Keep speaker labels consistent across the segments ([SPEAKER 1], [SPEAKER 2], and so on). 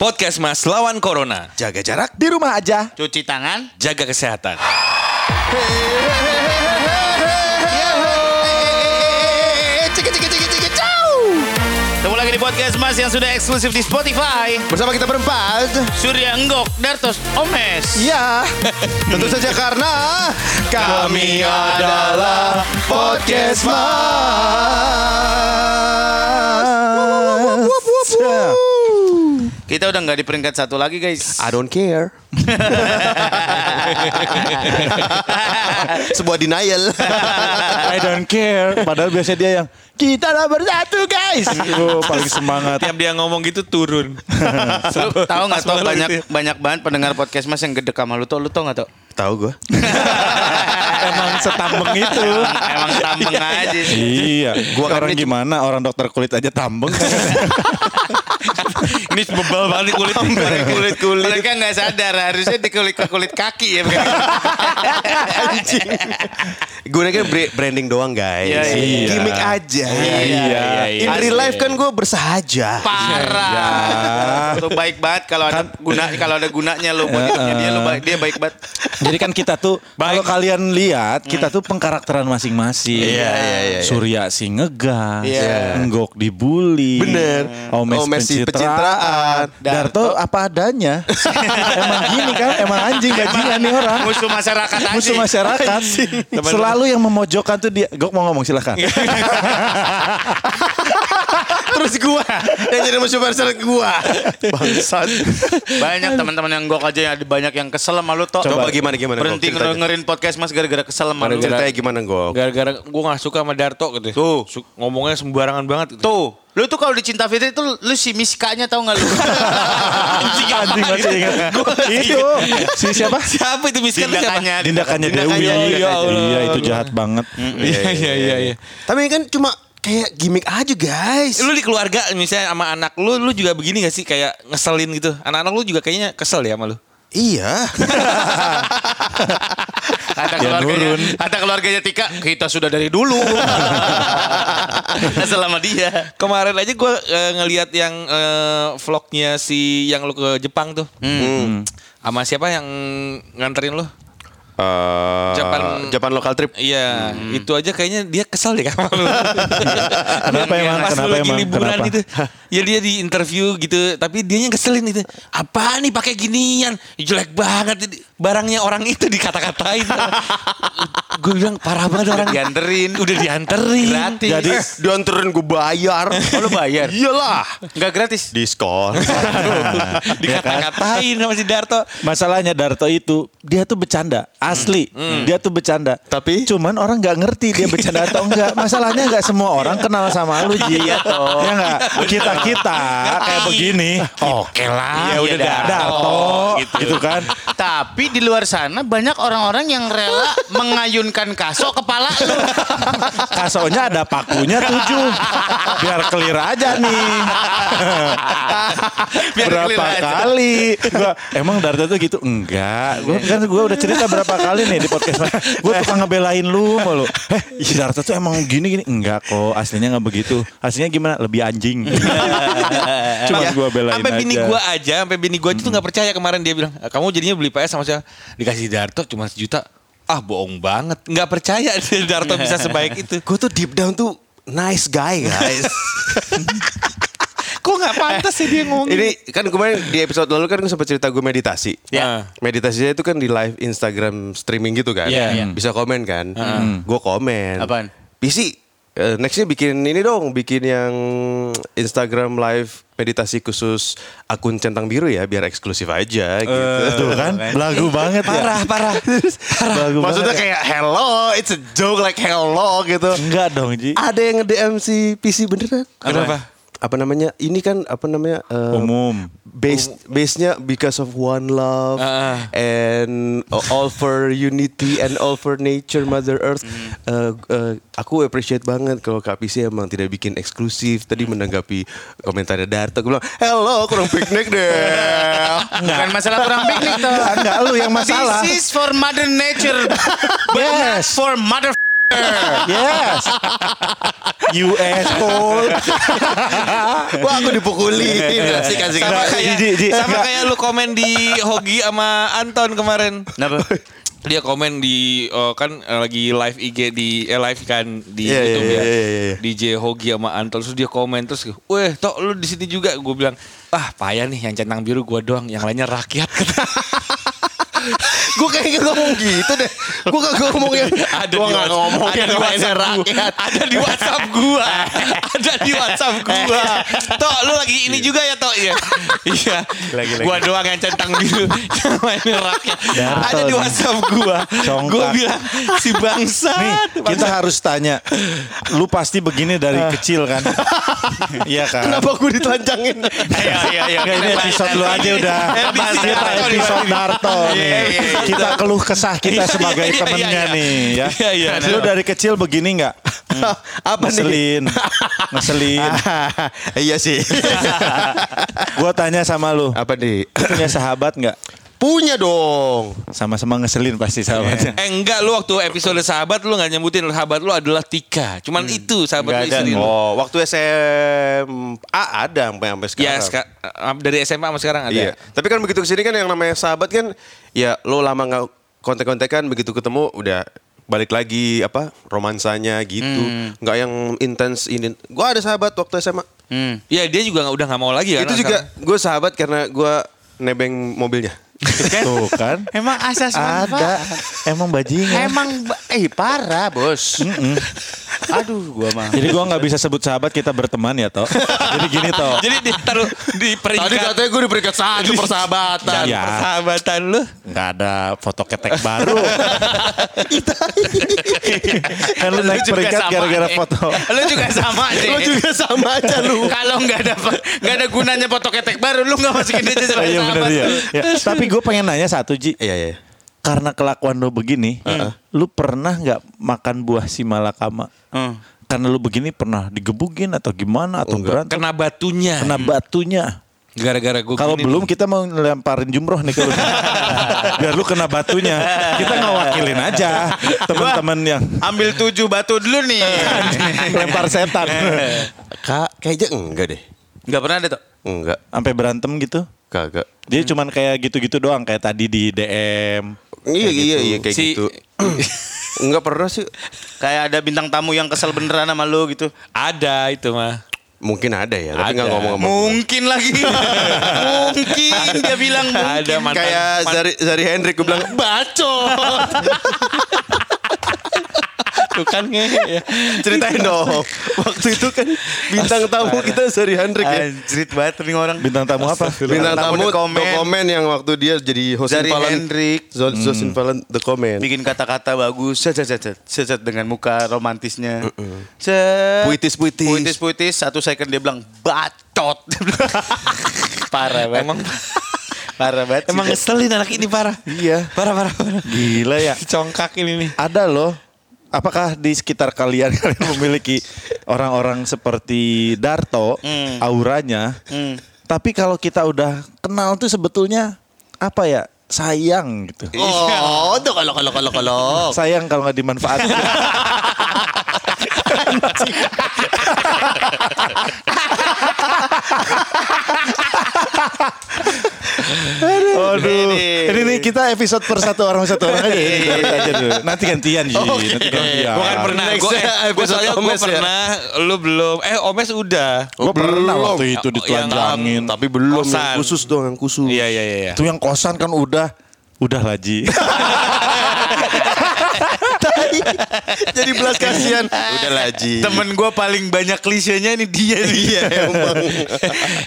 [SPEAKER 1] Podcast Mas lawan Corona.
[SPEAKER 2] Jaga jarak di rumah aja.
[SPEAKER 3] Cuci tangan.
[SPEAKER 1] Jaga kesehatan.
[SPEAKER 2] Eh,
[SPEAKER 3] Ketemu lagi di podcast Mas yang sudah eksklusif di Spotify.
[SPEAKER 2] Bersama kita berempat.
[SPEAKER 3] Surya Enggok, Dartos Omes.
[SPEAKER 4] Iya.
[SPEAKER 2] Ya, tentu saja karena kami adalah podcast mas.
[SPEAKER 4] Iya.
[SPEAKER 3] Kita udah nggak di peringkat satu lagi guys.
[SPEAKER 2] I don't care. Sebuah denial.
[SPEAKER 4] I don't care. Padahal biasanya dia yang kita nomor satu guys.
[SPEAKER 2] Iya.
[SPEAKER 4] Oh, paling semangat.
[SPEAKER 1] Tiap dia ngomong gitu turun.
[SPEAKER 3] Lu tahu nggak
[SPEAKER 1] Pas
[SPEAKER 3] tau
[SPEAKER 1] banget
[SPEAKER 3] banyak
[SPEAKER 1] gitu ya.
[SPEAKER 3] banyak banget pendengar podcast Mas yang gede sama lu tuh, lu tau nggak tuh?
[SPEAKER 2] Tahu gue.
[SPEAKER 4] Emang setambeng itu.
[SPEAKER 3] Emang tambeng aja. sih.
[SPEAKER 4] iya, gua
[SPEAKER 2] Orang
[SPEAKER 4] orang
[SPEAKER 2] ini-
[SPEAKER 4] gimana? Orang dokter kulit aja tambeng.
[SPEAKER 1] Ini bebal banget nih kulit.
[SPEAKER 3] kulit kulit mereka nggak sadar harusnya di kulit ke kulit kaki ya bukan?
[SPEAKER 2] Anjing. Gue kan bra- branding doang guys.
[SPEAKER 3] Iya, iya,
[SPEAKER 4] iya.
[SPEAKER 2] Gimik aja.
[SPEAKER 4] iya.
[SPEAKER 2] In real life kan gue bersahaja.
[SPEAKER 3] parah
[SPEAKER 4] Iya.
[SPEAKER 3] lu baik banget kalau ada
[SPEAKER 4] Kan-
[SPEAKER 3] guna kalau ada gunanya lu buat hidupnya dia lu baik dia baik banget
[SPEAKER 4] Jadi kan kita tuh kalau kalian lihat kita tuh pengkarakteran masing-masing.
[SPEAKER 2] Iya, iya, iya, iya.
[SPEAKER 4] Surya si ngegas,
[SPEAKER 3] Iya.
[SPEAKER 4] Enggok dibully.
[SPEAKER 2] Bener.
[SPEAKER 4] Omes,
[SPEAKER 2] Omes si
[SPEAKER 4] pencitraan. Ah,
[SPEAKER 2] pencitraan. Oh.
[SPEAKER 4] Darto apa adanya. emang gini kan, emang anjing gajian nih orang.
[SPEAKER 3] musuh masyarakat aja
[SPEAKER 4] musuh masyarakat selalu yang memojokkan tuh dia gok mau ngomong silahkan
[SPEAKER 2] Terus gue yang jadi musuh besar gue. Bangsat.
[SPEAKER 3] banyak teman-teman yang gok aja ya. ada banyak yang kesel sama lu toh
[SPEAKER 2] Coba gimana, gimana, Gok?
[SPEAKER 3] berhenti
[SPEAKER 2] Ceritanya.
[SPEAKER 3] dengerin podcast mas gara-gara kesel sama lu
[SPEAKER 2] Ceritanya gimana gue?
[SPEAKER 1] Gara-gara gue gak suka sama Darto gitu.
[SPEAKER 3] Tuh.
[SPEAKER 1] Su- Ngomongnya sembarangan banget gitu.
[SPEAKER 3] tuh lu tuh kalau di Cinta Fitri tuh lu si miskanya tau gak lu
[SPEAKER 4] anjing masih ingat itu si siapa
[SPEAKER 1] Siapa itu miskin tuh siapa?
[SPEAKER 3] tindakannya
[SPEAKER 4] tindakannya
[SPEAKER 2] Tindakannya,
[SPEAKER 4] Dewi
[SPEAKER 1] ya Allah.
[SPEAKER 4] iya itu jahat banget
[SPEAKER 1] Iya, iya, iya. iya.
[SPEAKER 2] Tapi kan cuma kayak gimmick aja guys.
[SPEAKER 1] Lu di keluarga misalnya sama anak lu, lu juga begini gak sih? Kayak ngeselin gitu. Anak-anak lu juga kayaknya kesel ya sama lu.
[SPEAKER 2] Iya.
[SPEAKER 3] kata
[SPEAKER 4] Ya,
[SPEAKER 3] keluarganya
[SPEAKER 4] nurun.
[SPEAKER 3] kata keluarganya Tika kita sudah dari dulu kesel sama dia
[SPEAKER 1] Kemarin aja gue ngelihat yang eh, vlognya si yang lu ke Jepang tuh. Hmm. Sama siapa yang nganterin lu?
[SPEAKER 2] Eh,
[SPEAKER 1] Japan-
[SPEAKER 2] Japan local trip.
[SPEAKER 1] Iya,
[SPEAKER 4] Hmm.
[SPEAKER 1] itu aja kayaknya dia kesel deh sama lu.
[SPEAKER 4] Kenapa emang?
[SPEAKER 1] Pas
[SPEAKER 4] Kenapa
[SPEAKER 1] lu lagi
[SPEAKER 4] emang?
[SPEAKER 1] liburan
[SPEAKER 4] Kenapa?
[SPEAKER 1] gitu. Ya dia di interview gitu, tapi dia yang keselin gitu. Apa nih pakai ginian? Jelek banget ini." barangnya orang itu dikata-katain. gue bilang parah banget orang.
[SPEAKER 3] dianterin
[SPEAKER 1] Udah dianterin.
[SPEAKER 3] Gratis.
[SPEAKER 2] Jadi eh, dianterin gue bayar.
[SPEAKER 3] Oh, lu bayar?
[SPEAKER 2] Iyalah.
[SPEAKER 3] nggak gratis
[SPEAKER 2] Diskon.
[SPEAKER 1] Dikata-katain sama si Darto.
[SPEAKER 4] Masalahnya Darto itu dia tuh bercanda asli dia tuh bercanda
[SPEAKER 2] Tapi?
[SPEAKER 4] cuman orang nggak ngerti dia bercanda atau enggak masalahnya nggak semua orang kenal sama lu Ji ya nggak kita kita kayak begini oke lah
[SPEAKER 3] Iya, udah, Darto. Oh,
[SPEAKER 4] Darto gitu. kan
[SPEAKER 3] Tapi di luar sana banyak orang-orang yang rela mengayunkan kasok kepala lu.
[SPEAKER 4] kasonya ada pakunya tujuh biar clear aja nih
[SPEAKER 3] Biar
[SPEAKER 4] berapa
[SPEAKER 3] clear aja.
[SPEAKER 4] kali gua emang Darto tuh gitu enggak gua kan gua udah cerita berapa kali nih di podcast gua tukang ngebelain lu mulu eh si Darto tuh emang gini gini enggak kok aslinya nggak begitu aslinya gimana lebih anjing cuma
[SPEAKER 1] Ya,
[SPEAKER 4] gua belain
[SPEAKER 1] sampai
[SPEAKER 4] aja
[SPEAKER 1] bini gua aja sampai bini gua aja tuh nggak percaya kemarin dia bilang "Eh, kamu jadinya beli PS sama siapa dikasih Darto cuma sejuta ah bohong banget nggak percaya dia Darto bisa sebaik itu
[SPEAKER 2] gue tuh deep down tuh nice guy guys.
[SPEAKER 1] kok nggak pantas sih dia ngomong
[SPEAKER 2] Ini kan kemarin di episode lalu kan gue sempat cerita gue meditasi.
[SPEAKER 1] Ya.
[SPEAKER 2] Meditasinya itu kan di live Instagram streaming gitu kan.
[SPEAKER 1] Iya, iya.
[SPEAKER 2] Bisa komen kan. Gue komen.
[SPEAKER 3] Apaan?
[SPEAKER 2] PC. eh, nextnya bikin ini dong, bikin yang Instagram live meditasi khusus akun centang biru ya, biar eksklusif aja gitu.
[SPEAKER 4] tuh kan lagu banget ya
[SPEAKER 1] parah parah
[SPEAKER 4] lagu
[SPEAKER 2] Maksudnya
[SPEAKER 4] banget.
[SPEAKER 2] kayak hello, it's a joke like hello gitu.
[SPEAKER 4] enggak dong Ji
[SPEAKER 2] Ada yang nge-DM si PC beneran.
[SPEAKER 1] Kenapa?
[SPEAKER 2] Apa namanya? Ini kan apa namanya? eh,
[SPEAKER 4] umum
[SPEAKER 2] Base base-nya because of one love
[SPEAKER 1] Ah.
[SPEAKER 2] and all for unity and all for nature mother earth. Eh, eh, aku appreciate banget kalau Kak PC emang tidak bikin eksklusif. Tadi menanggapi komentarnya Darto gue bilang, "Hello, kurang piknik deh."
[SPEAKER 3] Bukan masalah kurang piknik tuh.
[SPEAKER 4] enggak lu yang masalah
[SPEAKER 3] This is for mother nature. But not
[SPEAKER 4] Yes.
[SPEAKER 3] for mother
[SPEAKER 4] Yes. US Paul.
[SPEAKER 2] Wah aku dipukulin. Asik asik.
[SPEAKER 1] Sama
[SPEAKER 4] Nah,
[SPEAKER 1] kayak,
[SPEAKER 4] Ji, Ji,
[SPEAKER 1] sama
[SPEAKER 4] enggak.
[SPEAKER 1] kayak lu komen di Hogi sama Anton kemarin.
[SPEAKER 3] Kenapa?
[SPEAKER 1] Dia komen di eh, kan eh, lagi live IG di eh, live kan di
[SPEAKER 2] Iya,
[SPEAKER 1] YouTube
[SPEAKER 2] iya,
[SPEAKER 1] ya.
[SPEAKER 2] iya, iya, iya.
[SPEAKER 1] DJ Hogi sama Anton terus dia komen terus, "Weh, tok lu di sini juga." Gue bilang, "Ah, payah nih yang centang biru gua doang, yang lainnya rakyat."
[SPEAKER 2] Gue kayaknya ngomong gitu deh. Gue gak ngomong yang.
[SPEAKER 1] ada
[SPEAKER 2] Gua
[SPEAKER 1] di
[SPEAKER 2] nggak
[SPEAKER 1] WhatsApp-
[SPEAKER 2] ngomong
[SPEAKER 1] ada
[SPEAKER 2] yang
[SPEAKER 1] di
[SPEAKER 2] lainnya
[SPEAKER 1] WhatsApp
[SPEAKER 2] rakyat.
[SPEAKER 1] rakyat. Ada di WhatsApp gua. ada di WhatsApp gua. Tok, lu lagi ini juga ya, Tok ya? Iya.
[SPEAKER 4] Lagi, lagi.
[SPEAKER 1] Gua doang yang centang biru. Yang lainnya rakyat.
[SPEAKER 4] Darto
[SPEAKER 1] ada di
[SPEAKER 4] nih.
[SPEAKER 1] WhatsApp gua.
[SPEAKER 4] Congkak.
[SPEAKER 1] Gua bilang si
[SPEAKER 4] Nih,
[SPEAKER 1] bangsat.
[SPEAKER 4] kita harus tanya. Lu pasti begini dari
[SPEAKER 1] Ah.
[SPEAKER 4] kecil kan? Iya kan?
[SPEAKER 2] Kenapa gue ditelanjangin?
[SPEAKER 3] Ayo, ayo, ayo.
[SPEAKER 4] Nggak, ini episode lu aja udah.
[SPEAKER 1] Episode
[SPEAKER 4] Kita
[SPEAKER 1] Darto nih,
[SPEAKER 4] episode Darto nih.
[SPEAKER 3] Iya, iya, iya.
[SPEAKER 4] Kita keluh kesah
[SPEAKER 1] Iya,
[SPEAKER 4] kita sebagai
[SPEAKER 1] iya, iya,
[SPEAKER 4] temennya
[SPEAKER 1] iya.
[SPEAKER 4] nih ya.
[SPEAKER 1] Iya, iya.
[SPEAKER 4] Lu dari kecil begini nggak?
[SPEAKER 2] Apa nih?
[SPEAKER 4] Ngeselin. Ngeselin.
[SPEAKER 2] Iya sih.
[SPEAKER 4] Gua tanya sama lu.
[SPEAKER 2] Apa nih?
[SPEAKER 4] Punya sahabat nggak?
[SPEAKER 2] Punya dong.
[SPEAKER 4] Sama-sama ngeselin pasti sahabatnya.
[SPEAKER 1] Eh enggak lu waktu episode sahabat lu nggak nyebutin sahabat lu adalah Tika. Cuman itu sahabat lu
[SPEAKER 3] Nggak ada.
[SPEAKER 1] istri lu.
[SPEAKER 2] Oh, waktu SMA ada sampai sampai sekarang.
[SPEAKER 1] Ya seka- dari SMA sama sekarang ada.
[SPEAKER 2] Iya. Tapi kan begitu kesini kan yang namanya sahabat kan ya lo lama nggak kontak-kontakan begitu ketemu udah balik lagi apa romansanya gitu nggak yang intens ini gue ada sahabat waktu SMA
[SPEAKER 3] Hmm.
[SPEAKER 1] Ya dia juga nggak udah nggak mau lagi kan.
[SPEAKER 2] itu juga gue sahabat karena gue nebeng mobilnya
[SPEAKER 1] Iya.
[SPEAKER 4] Tuh kan.
[SPEAKER 3] Emang asas
[SPEAKER 4] Ada.
[SPEAKER 3] manfaat.
[SPEAKER 4] Emang bajingan.
[SPEAKER 3] Emang ba- eh parah, Bos. Aduh, gua mah.
[SPEAKER 4] Jadi gua nggak bisa sebut sahabat kita berteman ya toh. Jadi gini toh.
[SPEAKER 1] Jadi di, taruh di peringkat
[SPEAKER 2] gue di peringkat satu
[SPEAKER 4] Iya.
[SPEAKER 2] persahabatan
[SPEAKER 4] Ya.
[SPEAKER 1] persahabatan lu.
[SPEAKER 4] nggak ada foto ketek baru. kan lu naik
[SPEAKER 3] juga
[SPEAKER 4] peringkat
[SPEAKER 3] sama,
[SPEAKER 4] gara-gara
[SPEAKER 3] eh.
[SPEAKER 4] foto.
[SPEAKER 3] Lu juga sama deh.
[SPEAKER 2] lo juga sama aja lu
[SPEAKER 3] Kalau nggak ada nggak ada gunanya foto ketek baru, lu nggak masukin aja
[SPEAKER 4] Oh,
[SPEAKER 3] sebagai
[SPEAKER 4] iya benar
[SPEAKER 3] sahabat.
[SPEAKER 4] ya. Ya, Tapi gue pengen nanya satu Ji.
[SPEAKER 2] iya iya
[SPEAKER 4] Karena kelakuan lu begini, lu pernah nggak makan buah si malakama?
[SPEAKER 3] Hmm.
[SPEAKER 4] Karena lu begini pernah digebukin atau gimana atau berantem?
[SPEAKER 1] Kena batunya.
[SPEAKER 4] Kena batunya.
[SPEAKER 1] Gara-gara gue.
[SPEAKER 4] Kalau
[SPEAKER 1] gini.
[SPEAKER 4] belum kita mau ngelemparin jumroh nih ke lu. Biar lu kena batunya. Kita ngawakilin aja teman-teman yang
[SPEAKER 3] Ambil tujuh batu dulu nih.
[SPEAKER 4] lempar setan.
[SPEAKER 2] kak kayaknya enggak deh
[SPEAKER 3] Nggak pernah ada tuh.
[SPEAKER 2] enggak
[SPEAKER 4] Sampai berantem gitu.
[SPEAKER 2] kagak
[SPEAKER 4] Dia cuman kayak gitu-gitu doang kayak tadi di DM.
[SPEAKER 2] iya iya iya kayak
[SPEAKER 1] Si-
[SPEAKER 2] gitu enggak pernah sih
[SPEAKER 3] Kayak ada bintang tamu yang kesel beneran sama lu gitu.
[SPEAKER 1] Ada itu mah.
[SPEAKER 2] mungkin ada ya tapi nggak
[SPEAKER 1] Ada.
[SPEAKER 2] ngomong ngomong
[SPEAKER 3] Mungkin lagi. mungkin dia bilang mungkin.
[SPEAKER 1] Ada mantan.
[SPEAKER 2] kayak
[SPEAKER 1] man-
[SPEAKER 2] Zari Zari Hendrik gue bilang
[SPEAKER 3] bacot.
[SPEAKER 1] tuh kan ngehe ya.
[SPEAKER 3] Gitu.
[SPEAKER 2] Ceritain dong. Waktu itu kan bintang tamu kita Sari Handrik ya.
[SPEAKER 3] Anjrit banget nih orang.
[SPEAKER 4] Bintang tamu apa?
[SPEAKER 2] Bintang
[SPEAKER 3] The
[SPEAKER 2] tamu
[SPEAKER 3] Comment.
[SPEAKER 2] The Comment yang waktu dia jadi Hosin
[SPEAKER 3] Zari
[SPEAKER 2] Valen.
[SPEAKER 3] Hendrik.
[SPEAKER 2] Zo- Zosin Valen The Comment.
[SPEAKER 3] bikin kata-kata bagus set set set set, set, set, dengan muka romantisnya
[SPEAKER 2] Puitis, puitis.
[SPEAKER 3] puitis puitis satu second dia bilang bacot parah banget
[SPEAKER 1] Emang
[SPEAKER 3] parah banget
[SPEAKER 1] emang
[SPEAKER 3] sih.
[SPEAKER 1] ngeselin anak ini parah.
[SPEAKER 4] Iya.
[SPEAKER 1] Parah parah. parah.
[SPEAKER 4] Gila ya.
[SPEAKER 1] Congkak ini nih.
[SPEAKER 4] Ada loh. Apakah di sekitar kalian kalian memiliki orang-orang seperti Darto auranya? Tapi kalau kita udah kenal tuh sebetulnya apa ya? Sayang gitu.
[SPEAKER 3] oh tuh kalau kalau kalau kalau
[SPEAKER 4] Sayang kalau nggak dimanfaatkan. Aduh.
[SPEAKER 3] Ini.
[SPEAKER 4] Ini nih kita episode per satu orang satu orang aja. ya.
[SPEAKER 2] Iya,
[SPEAKER 4] ini. Tarik aja dulu. Nanti gantian
[SPEAKER 2] Oh,
[SPEAKER 4] Ji. Nanti gantian.
[SPEAKER 1] Gue kan pernah.
[SPEAKER 2] Next
[SPEAKER 1] Gue
[SPEAKER 2] ya,
[SPEAKER 1] eh, gua
[SPEAKER 2] episode
[SPEAKER 1] soalnya gue
[SPEAKER 2] Omes ya.
[SPEAKER 1] pernah. Lu belum. Eh Omes udah.
[SPEAKER 4] Gue pernah
[SPEAKER 2] Oh, Belum.
[SPEAKER 4] waktu itu
[SPEAKER 1] Yang-
[SPEAKER 4] ditelanjangin.
[SPEAKER 2] Tapi belum
[SPEAKER 1] Kosan.
[SPEAKER 2] yang khusus dong yang khusus.
[SPEAKER 1] Iya iya iya. iya.
[SPEAKER 4] Itu yang kosan kan udah udah lah Ji.
[SPEAKER 2] jadi belas kasihan. Udah lah Ji.
[SPEAKER 3] temen gue paling banyak klisenya ini dia dia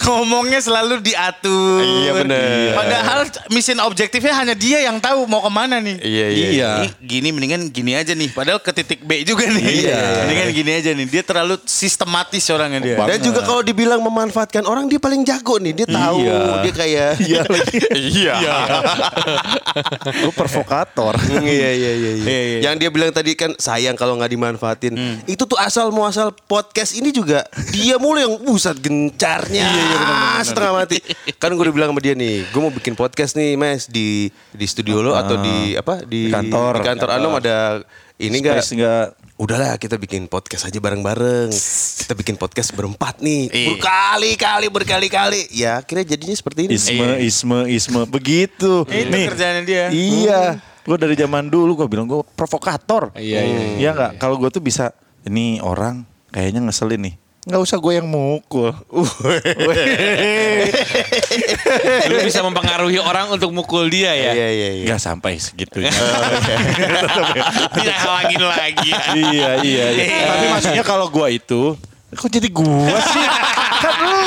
[SPEAKER 3] ngomongnya selalu diatur
[SPEAKER 2] Iya, bener.
[SPEAKER 3] padahal mission objektifnya hanya dia yang tahu mau kemana nih
[SPEAKER 2] Iya iya.
[SPEAKER 4] Iya.
[SPEAKER 3] Ini gini mendingan gini aja nih. Padahal ke titik B juga nih.
[SPEAKER 4] Iya.
[SPEAKER 3] Mendingan gini aja nih. Dia terlalu sistematis orangnya dia.
[SPEAKER 4] Bang.
[SPEAKER 2] Dan juga kalau dibilang memanfaatkan orang dia paling jago nih. Dia tahu
[SPEAKER 4] Iya.
[SPEAKER 2] dia kayak
[SPEAKER 4] Iya lagi.
[SPEAKER 2] Iya.
[SPEAKER 4] Lu provokator.
[SPEAKER 2] Hmm, iya, iya, iya, iya.
[SPEAKER 3] Iya, iya.
[SPEAKER 2] Yang dia bilang tadi kan sayang kalau nggak dimanfaatin. Itu tuh asal muasal podcast ini juga dia mulu yang buset gencarnya. setengah mati. Kan gue udah bilang sama dia nih, gue mau bikin podcast nih, Mas, di di studio lo atau di apa? Di,
[SPEAKER 4] Di kantor.
[SPEAKER 2] Di kantor Anom ada ini enggak
[SPEAKER 4] Space nggak-
[SPEAKER 2] udahlah kita bikin podcast aja bareng-bareng. Kita bikin podcast berempat nih.
[SPEAKER 3] Iya.
[SPEAKER 2] Berkali-kali berkali-kali. Ya, akhirnya jadinya seperti ini.
[SPEAKER 4] Isme, isme, isme. Begitu.
[SPEAKER 3] Itu kerjaannya dia.
[SPEAKER 4] Iya. Gue dari zaman dulu gue bilang gue provokator.
[SPEAKER 1] Iya, iya,
[SPEAKER 4] Hmm. Iya nggak? Kalau gue tuh bisa, ini orang kayaknya ngeselin nih. Nggak usah gue yang mukul. Uh,
[SPEAKER 1] Lu bisa mempengaruhi orang untuk mukul dia ya.
[SPEAKER 2] Eh. Iya, iya, iya.
[SPEAKER 4] Nggak sampai segitunya.
[SPEAKER 3] Kita halangin lagi.
[SPEAKER 4] iya, iya, iya. Tapi maksudnya kalau gue itu, kok jadi gue sih? kan lu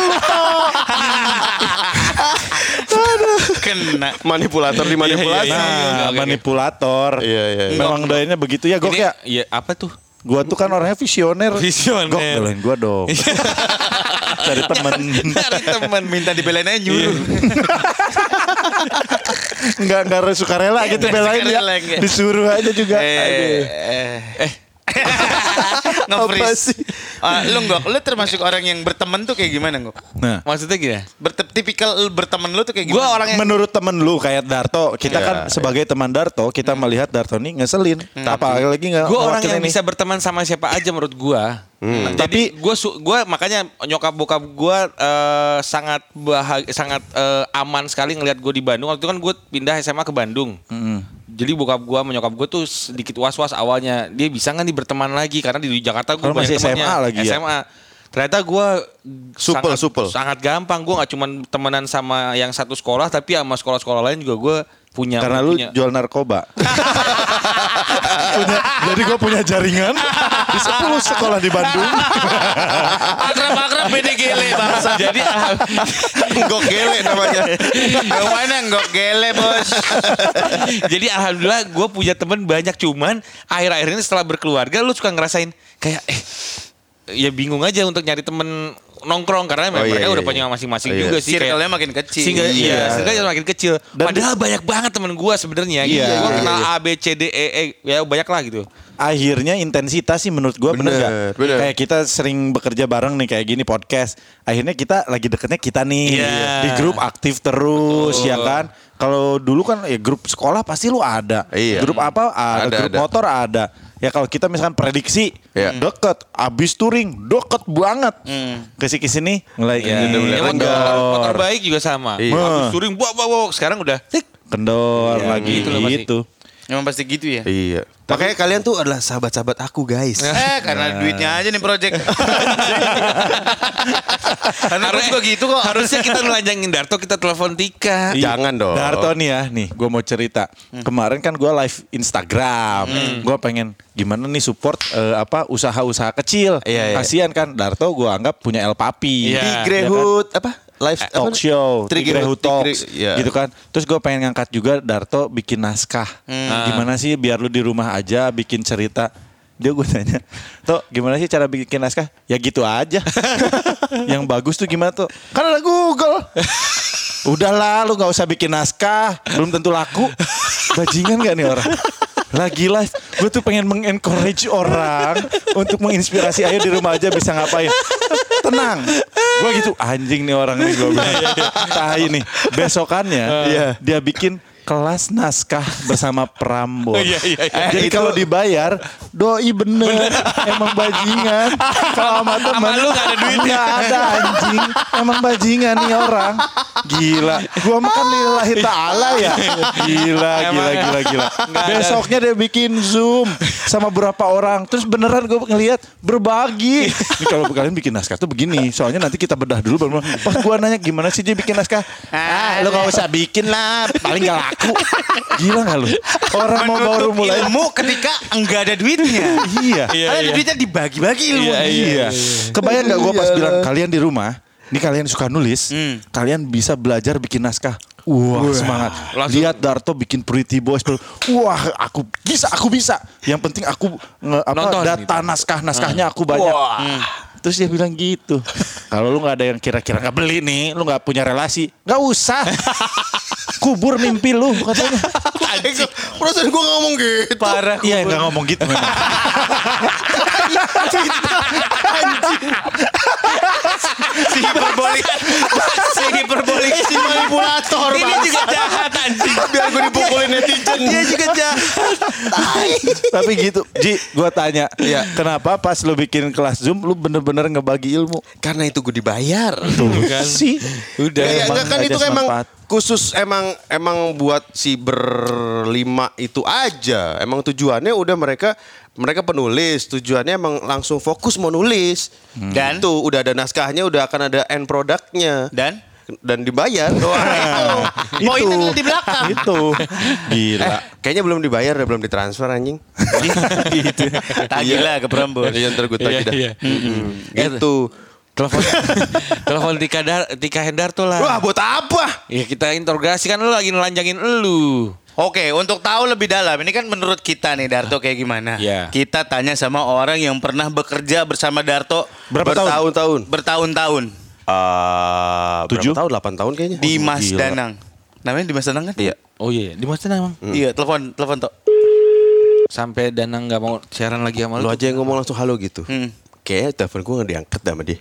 [SPEAKER 3] Kena.
[SPEAKER 2] Manipulator di manipulasi.
[SPEAKER 1] Iya, iya, iya,
[SPEAKER 4] Nah,
[SPEAKER 1] oke,
[SPEAKER 4] manipulator.
[SPEAKER 2] Iya, iya, iya.
[SPEAKER 4] Memang dayanya begitu ya, gok
[SPEAKER 1] Ini,
[SPEAKER 4] ya.
[SPEAKER 1] ya apa tuh?
[SPEAKER 4] Gua tuh kan orangnya visioner.
[SPEAKER 1] Visioner.
[SPEAKER 4] Gok belain gua dong. Cari temen.
[SPEAKER 3] Dari teman minta dibelain aja nyuruh.
[SPEAKER 4] Iya. Enggak enggak suka rela gitu
[SPEAKER 3] Nggak
[SPEAKER 4] belain ya.
[SPEAKER 3] sukarela, nggak.
[SPEAKER 4] Disuruh aja juga.
[SPEAKER 3] Eh,
[SPEAKER 4] Aduh.
[SPEAKER 3] eh. Nge-freeze.
[SPEAKER 4] Apa sih?
[SPEAKER 3] Ah, lu nggak, lu termasuk orang yang berteman tuh kayak gimana nggak?
[SPEAKER 4] Nah,
[SPEAKER 1] Maksudnya gini.
[SPEAKER 3] Berte- tipikal lu berteman lu tuh kayak
[SPEAKER 1] Gue
[SPEAKER 3] gimana?
[SPEAKER 1] orang yang
[SPEAKER 4] menurut temen lu kayak Darto, kita kan sebagai teman Darto, kita melihat Darto nih ngeselin. Apalagi
[SPEAKER 1] gue Iya. Hmm.
[SPEAKER 4] nggak
[SPEAKER 1] orang yang
[SPEAKER 4] ngewakilin Eh, nih. Hmm.
[SPEAKER 1] bisa berteman sama siapa aja menurut gua. Tapi
[SPEAKER 4] Tapi-
[SPEAKER 1] gue gua makanya nyokap bokap gua eh, sangat bahag sangat eh, aman sekali ngelihat gue di Bandung. Waktu itu kan gue pindah SMA ke Bandung.
[SPEAKER 4] Hmm.
[SPEAKER 1] Jadi bokap gua menyokap gue tuh sedikit was-was awalnya. Dia bisa nggak nih berteman lagi karena di Jakarta gue
[SPEAKER 4] Kalau masih SMA lagi ya?
[SPEAKER 1] SMA. Ternyata gue sangat,
[SPEAKER 2] Supel, supel.
[SPEAKER 1] sangat gampang. Gue nggak cuman temenan sama yang satu sekolah, tapi sama sekolah-sekolah lain juga gue punya.
[SPEAKER 4] Karena lu
[SPEAKER 1] punya-
[SPEAKER 4] jual narkoba. Punya- jadi gue punya jaringan di 10 sekolah di Bandung.
[SPEAKER 3] akrab-akrab beda gele bangsa. Jadi
[SPEAKER 2] Gok gele namanya.
[SPEAKER 3] yang mana nggak gele bos?
[SPEAKER 1] Jadi alhamdulillah gue punya temen banyak cuman akhir-akhir ini setelah berkeluarga lu suka ngerasain kayak eh ya bingung aja untuk nyari temen nongkrong karena
[SPEAKER 2] Oh,
[SPEAKER 1] mereka
[SPEAKER 2] iya,
[SPEAKER 1] udah
[SPEAKER 2] iya,
[SPEAKER 1] punya
[SPEAKER 2] iya.
[SPEAKER 1] masing-masing
[SPEAKER 2] Oh, iya.
[SPEAKER 1] juga sih
[SPEAKER 3] Circle-nya
[SPEAKER 1] kayak
[SPEAKER 3] makin kecil.
[SPEAKER 1] sehingga iya, sehingga jadi makin kecil.
[SPEAKER 4] Dan-
[SPEAKER 1] Padahal banyak banget temen gue sebenarnya.
[SPEAKER 4] Iya,
[SPEAKER 1] gitu. Gue
[SPEAKER 4] iya,
[SPEAKER 1] kenal A B C D E E ya banyak lah gitu.
[SPEAKER 4] Akhirnya intensitas sih menurut gue bener,
[SPEAKER 2] Bener,
[SPEAKER 4] gak?
[SPEAKER 2] bener.
[SPEAKER 4] Kayak kita sering bekerja bareng nih kayak gini podcast. Akhirnya kita lagi deketnya kita nih.
[SPEAKER 1] Iya.
[SPEAKER 4] Di grup aktif terus ya kan. Kalau dulu kan ya grup sekolah pasti lu ada.
[SPEAKER 2] Iya.
[SPEAKER 4] Grup apa ada,
[SPEAKER 2] Ada,
[SPEAKER 4] grup
[SPEAKER 2] ada.
[SPEAKER 4] motor ada. Ya kalau kita misalkan prediksi
[SPEAKER 2] Iya.
[SPEAKER 4] deket, abis touring deket banget. Kesini kesini mulai
[SPEAKER 1] Ya,
[SPEAKER 4] ini,
[SPEAKER 1] motor, motor
[SPEAKER 4] kendor,
[SPEAKER 1] baik juga sama.
[SPEAKER 2] Iya.
[SPEAKER 1] Habis touring bawa bawa bawa. sekarang udah tik.
[SPEAKER 4] kendor lagi
[SPEAKER 1] gitu loh pasti.
[SPEAKER 4] gitu.
[SPEAKER 3] Emang pasti gitu ya.
[SPEAKER 2] Iya. Makanya kalian tuh adalah sahabat-sahabat aku, guys.
[SPEAKER 4] Nah,
[SPEAKER 3] Eh karena duitnya aja nih project. karena gue juga gitu kok.
[SPEAKER 1] Harusnya kita nelanjangin Darto kita telepon Tika.
[SPEAKER 4] Ih,
[SPEAKER 2] Jangan dong.
[SPEAKER 4] Darto nih ya, nih gue mau cerita.
[SPEAKER 2] Hmm.
[SPEAKER 4] Kemarin kan gue live Instagram, gue pengen gimana nih support eh, apa usaha-usaha kecil.
[SPEAKER 2] Iya, iya.
[SPEAKER 4] Kasian kan Darto gue anggap punya El Papi.
[SPEAKER 1] Iya.
[SPEAKER 2] Di
[SPEAKER 1] Ya,
[SPEAKER 2] Grehut apa? Live
[SPEAKER 4] kan? Eh, Talk show, Tigrehu Talks,
[SPEAKER 2] ya. iya.
[SPEAKER 4] gitu kan. Terus gue pengen ngangkat juga Darto bikin naskah.
[SPEAKER 2] Hmm.
[SPEAKER 4] Nah, Gimana sih biar lu di rumah aja bikin cerita. Dia gue tanya, Tok gimana sih cara bikin naskah? Ya gitu aja. Yang bagus tuh gimana tuh? Kan ada Google. Udahlah lu gak usah bikin naskah, belum tentu laku. Bajingan gak nih orang? Lagi live, gue tuh pengen mengencourage orang untuk menginspirasi ayo di rumah aja bisa ngapain. Tenang. Gue gitu, anjing nih orang nih gue bilang.
[SPEAKER 1] Iya,
[SPEAKER 4] Tai nih. Besokannya
[SPEAKER 2] Iya.
[SPEAKER 4] dia bikin kelas naskah bersama Prambors.
[SPEAKER 1] Iya, iya, iya.
[SPEAKER 4] Eh, Jadi
[SPEAKER 2] itu-
[SPEAKER 4] kalau dibayar, doi bener. Emang bajingan. Kalau sama temen,
[SPEAKER 1] Sama lu nggak ada duitnya.
[SPEAKER 4] nggak ada anjing. Emang bajingan nih orang. Gila. Gua makan lillahi ta'ala ya. Gila, gila, gila, gila. Besoknya dia bikin Zoom sama berapa orang. Terus beneran gue ngeliat berbagi. Ini kalau kalian bikin naskah tuh begini. Soalnya nanti kita bedah dulu. baru- Pas gua nanya gimana sih dia bikin naskah. Ah, lu gak usah bikin lah. Paling gak laku. Gila gak lu? Orang mau baru
[SPEAKER 3] Menutup
[SPEAKER 4] mulai.
[SPEAKER 3] ilmu ketika enggak ada duitnya.
[SPEAKER 4] Iya.
[SPEAKER 1] Iya,
[SPEAKER 3] Karena
[SPEAKER 1] iya.
[SPEAKER 3] duitnya dibagi-bagi ilmu.
[SPEAKER 1] Iya,
[SPEAKER 4] Iya. Kebayang gak gue pas bilang kalian di rumah, ini kalian suka nulis, kalian bisa belajar bikin naskah. Hmm. Wah, semangat.
[SPEAKER 1] Langsung-
[SPEAKER 4] Lihat Darto bikin Pretty Boys. Wah, aku bisa, aku bisa. Yang penting aku nge, apa,
[SPEAKER 1] Nonton
[SPEAKER 4] data naskah naskahnya aku banyak. Hmm. Terus dia bilang gitu. Kalau lu nggak ada yang kira-kira nggak beli nih, lu nggak punya relasi, nggak usah. Kubur mimpi lu katanya.
[SPEAKER 2] Perasaan gue ngomong gitu.
[SPEAKER 4] Parah. Iya, nggak ngomong gitu. memang. gitu.
[SPEAKER 3] Si hiperbolik. si hiperbolik. Si manipulator.
[SPEAKER 1] Ini juga jahat anjing.
[SPEAKER 2] Biar gue dipukulin netizen.
[SPEAKER 1] Dia juga jahat.
[SPEAKER 4] Tapi gitu, Ji, gua tanya, kenapa pas lu bikin kelas Zoom lu bener-bener ngebagi ilmu?
[SPEAKER 2] Karena itu gue dibayar.
[SPEAKER 1] kan?
[SPEAKER 4] Sih.
[SPEAKER 1] Udah.
[SPEAKER 2] Ya,
[SPEAKER 4] emang
[SPEAKER 2] enggak kan
[SPEAKER 4] aja
[SPEAKER 2] itu kan emang
[SPEAKER 4] semanfaat.
[SPEAKER 2] khusus emang emang buat si berlima itu aja. Emang tujuannya udah mereka mereka penulis, tujuannya emang langsung fokus mau nulis.
[SPEAKER 3] Dan?
[SPEAKER 2] itu udah ada naskahnya, udah akan ada end produknya
[SPEAKER 3] Dan?
[SPEAKER 2] dan dibayar.
[SPEAKER 3] Poinnya tuh di
[SPEAKER 4] Ah,
[SPEAKER 3] belakang.
[SPEAKER 4] Itu. Gila.
[SPEAKER 2] Eh, Kayaknya belum dibayar, ya, belum ditransfer anjing.
[SPEAKER 3] Tagih lah ke Prambors.
[SPEAKER 2] Iya, ntar gue
[SPEAKER 1] Iya,
[SPEAKER 2] tagih dah.
[SPEAKER 1] iya.
[SPEAKER 2] Mm-mm. Gitu.
[SPEAKER 1] Telepon telepon Tika Dar, Tika Hendarto lah.
[SPEAKER 2] Wah, buat apa?
[SPEAKER 1] Ya kita interogasi kan lu lagi nelanjangin elu.
[SPEAKER 3] Oke, untuk tahu lebih dalam, ini kan menurut kita nih Darto kayak gimana?
[SPEAKER 1] Iya.
[SPEAKER 3] Kita tanya sama orang yang pernah bekerja bersama Darto
[SPEAKER 4] Berapa tahun?
[SPEAKER 2] Bertahun-tahun.
[SPEAKER 3] bertahun-tahun
[SPEAKER 2] Eh,
[SPEAKER 4] Tujuh?
[SPEAKER 2] berapa tahun? 8 tahun kayaknya.
[SPEAKER 3] Dimas
[SPEAKER 4] gila.
[SPEAKER 3] Danang. Namanya Dimas Danang kan?
[SPEAKER 2] Iya.
[SPEAKER 1] Oh iya, di mana emang?
[SPEAKER 4] Mm.
[SPEAKER 3] Iya, telepon, telepon Tok.
[SPEAKER 1] Sampai Danang nggak mau siaran lagi sama lu.
[SPEAKER 2] Lu aja yang ngomong langsung halo gitu.
[SPEAKER 3] Hmm.
[SPEAKER 2] Kayaknya telepon gue gak diangkat dah sama dia.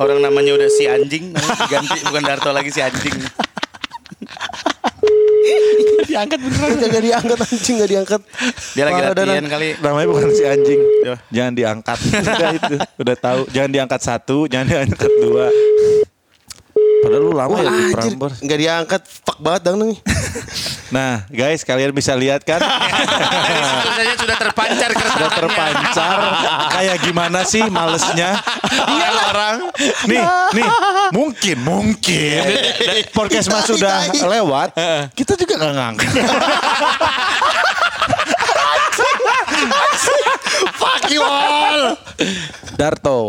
[SPEAKER 3] Orang namanya udah si anjing, namanya diganti bukan Darto lagi si anjing.
[SPEAKER 1] Diangkat beneran.
[SPEAKER 2] Gak diangkat anjing, gak diangkat.
[SPEAKER 3] Dia lagi
[SPEAKER 2] Parah,
[SPEAKER 3] latihan
[SPEAKER 2] Danang.
[SPEAKER 3] kali.
[SPEAKER 4] Eh, Namanya bukan si anjing. Jangan diangkat. Udah itu. Udah tahu. Jangan diangkat satu, jangan diangkat dua. Padahal lu lama
[SPEAKER 2] Wah
[SPEAKER 4] ya di
[SPEAKER 2] anjir,
[SPEAKER 4] Prambors.
[SPEAKER 2] gak diangkat. Fuck banget dong nih.
[SPEAKER 4] Nah, guys, kalian bisa lihat kan
[SPEAKER 3] Tulisannya sudah terpancar
[SPEAKER 4] udah terpancar kayak gimana sih malesnya orang nih nih mungkin mungkin podcast mas sudah lewat kita juga nggak ngangkat
[SPEAKER 2] Fuck you all.
[SPEAKER 4] Darto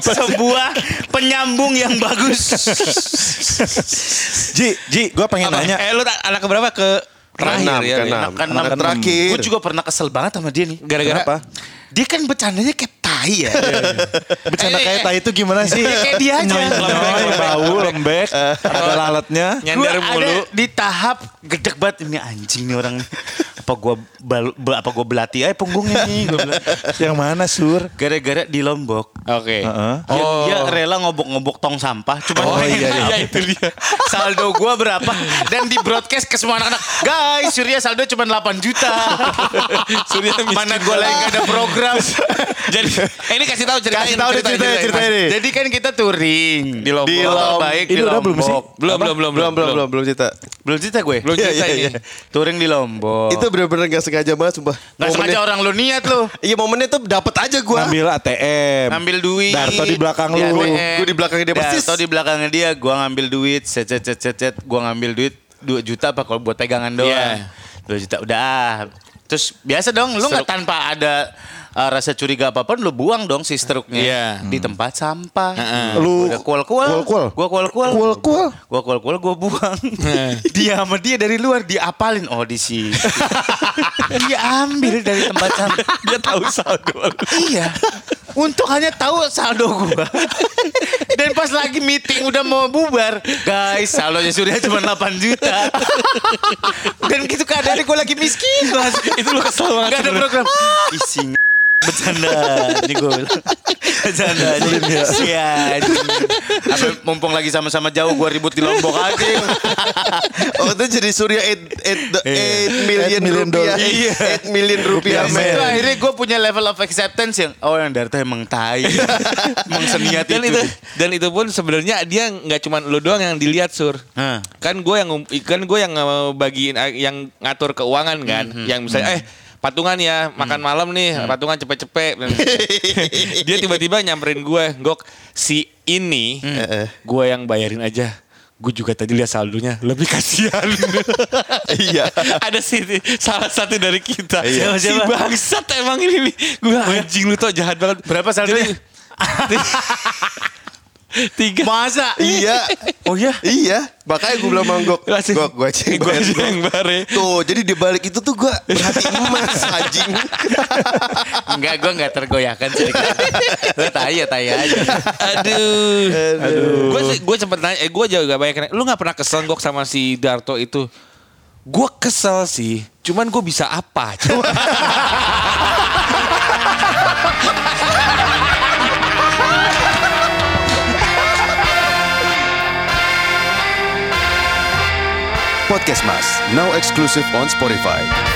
[SPEAKER 3] sebuah penyambung yang bagus.
[SPEAKER 4] Ji Ji gue pengen nanya
[SPEAKER 1] Eh lu ta- anak keberapa ke terakhir
[SPEAKER 2] Keenam,
[SPEAKER 1] ya? Ren?
[SPEAKER 2] keenam.
[SPEAKER 3] Kan
[SPEAKER 2] Anak
[SPEAKER 3] enam-
[SPEAKER 2] terakhir.
[SPEAKER 3] Gue juga pernah kesel banget sama dia nih.
[SPEAKER 1] Gara-gara
[SPEAKER 4] Kenapa?
[SPEAKER 3] Dia kan bercandanya kayak
[SPEAKER 4] Iya,
[SPEAKER 3] tai ya. Eh,
[SPEAKER 4] bercanda kayak tai itu gimana sih
[SPEAKER 3] Kayak dia aja.
[SPEAKER 4] Lembek, bau lembek ada lalatnya
[SPEAKER 1] Nyender
[SPEAKER 3] Gua
[SPEAKER 1] mulu.
[SPEAKER 3] Ada di tahap gedek banget ini anjing nih orang. apa gua bal- be- apa gua belati aja punggungnya nih gua bilang.
[SPEAKER 4] yang mana sur
[SPEAKER 3] Gara-gara di Lombok.
[SPEAKER 1] Oke. Oh.
[SPEAKER 4] Heeh.
[SPEAKER 3] Dia, dia rela ngobok-ngobok tong sampah cuma
[SPEAKER 4] Oh, iya, iya.
[SPEAKER 1] Ya,
[SPEAKER 3] itu dia. Saldo gua berapa dan di broadcast ke semua anak-anak. Guys, Surya saldo cuma 8 juta.
[SPEAKER 1] Surya miskin
[SPEAKER 3] Mana gua lagi nggak ada program.
[SPEAKER 1] Jadi eh, ini kasih tahu ceritanya.
[SPEAKER 3] Kasih tahu deh ceritanya, ceritanya nih. Jadi kan kita touring
[SPEAKER 1] Di Lombok.
[SPEAKER 3] Baik
[SPEAKER 4] Ini
[SPEAKER 3] di
[SPEAKER 4] udah
[SPEAKER 3] Lombok.
[SPEAKER 4] belum sih?
[SPEAKER 1] Belum, belum, belum,
[SPEAKER 2] Belum, belum, belum, belum cerita.
[SPEAKER 3] Belum cerita gue.
[SPEAKER 1] Belum cerita
[SPEAKER 2] Iya, iya,
[SPEAKER 1] ini.
[SPEAKER 2] iya.
[SPEAKER 3] Touring di Lombok.
[SPEAKER 2] Itu bener-bener gak sengaja banget sumpah.
[SPEAKER 3] Nggak sengaja orang lu niat lu.
[SPEAKER 2] Iya momennya tuh dapet aja gue.
[SPEAKER 4] ngambil ATM
[SPEAKER 3] Ngambil duit.
[SPEAKER 4] Darto di belakang lu
[SPEAKER 3] ATM.
[SPEAKER 2] Gua di belakangnya dia, persis.
[SPEAKER 3] Darto di belakangnya dia, gua ngambil duit, set set set set, set. gua ngambil duit 2 juta apa kalau buat pegangan doang.
[SPEAKER 1] Iya.
[SPEAKER 3] 2 juta udah. ah. Terus biasa dong, lu nggak tanpa ada uh, rasa curiga apapun lu buang dong si struknya
[SPEAKER 1] Iya.
[SPEAKER 3] di tempat sampah.
[SPEAKER 4] Lu-
[SPEAKER 3] udah kual-kual.
[SPEAKER 4] kual-kual.
[SPEAKER 3] Gua kual-kual.
[SPEAKER 4] Kual-kual.
[SPEAKER 3] Gua kual-kual gua buang. dia sama dia dari luar diapalin oh di sini. dia ambil dari tempat sampah.
[SPEAKER 1] Dia tahu saldo.
[SPEAKER 3] Iya. Untuk hanya tahu saldo gua. Dan pas lagi meeting udah mau bubar, guys, saldonya Surya cuma 8 juta. Dan gitu keadaannya gua lagi miskin, Mas.
[SPEAKER 1] Itu lu kesel banget.
[SPEAKER 3] Gak ada
[SPEAKER 1] sebenarnya.
[SPEAKER 3] program. Isinya bercanda ini gue bilang bercanda
[SPEAKER 2] ya.
[SPEAKER 3] aja Iya, anjing. Apa, mumpung lagi sama-sama jauh gua ribut di lombok aja
[SPEAKER 2] Oh itu jadi Surya 8 million,
[SPEAKER 4] million dollar.
[SPEAKER 2] rupiah. Iya. 8 million rupiah.
[SPEAKER 3] Habis
[SPEAKER 2] men.
[SPEAKER 3] itu akhirnya gue punya level of acceptance yang oh yang Darto emang tai Kan emang seniat
[SPEAKER 1] Dan itu dan itu pun sebenarnya dia nggak cuma lu doang yang dilihat sur.
[SPEAKER 3] Hah.
[SPEAKER 1] Kan gue yang kan gue yang bagiin yang ngatur keuangan kan, yang misalnya eh patungan ya makan malam nih patungan cepet-cepet dia tiba-tiba nyamperin gue gok si ini
[SPEAKER 3] Hmm.
[SPEAKER 1] gue yang bayarin aja gue juga tadi lihat saldonya lebih kasihan
[SPEAKER 2] Iya.
[SPEAKER 1] ada si salah satu dari kita
[SPEAKER 3] Iya.
[SPEAKER 1] si
[SPEAKER 3] Siapa?
[SPEAKER 1] bangsat emang ini nih. gue anjing lu tuh jahat banget
[SPEAKER 3] Berapa saldonya?
[SPEAKER 1] Jadi- tiga
[SPEAKER 3] Masa?
[SPEAKER 2] Iya.
[SPEAKER 3] Oh ya?
[SPEAKER 2] Iya. Makanya gue bilang sama Gok.
[SPEAKER 1] Langsung-
[SPEAKER 2] Gok gue aja.
[SPEAKER 1] Gua aja yang bare.
[SPEAKER 2] Tuh jadi di balik itu tuh gue berhati emas anjing.
[SPEAKER 3] Enggak, gue enggak tergoyahkan sedikit. Lu tai ya, tai aja.
[SPEAKER 1] aduh aduh gue gue sempet nanya eh gue juga banyak nanya, lu nggak pernah kesel gok sama si Darto itu gue kesel sih cuman gue bisa apa Coba.
[SPEAKER 2] Podcast Mas, now exclusive on Spotify.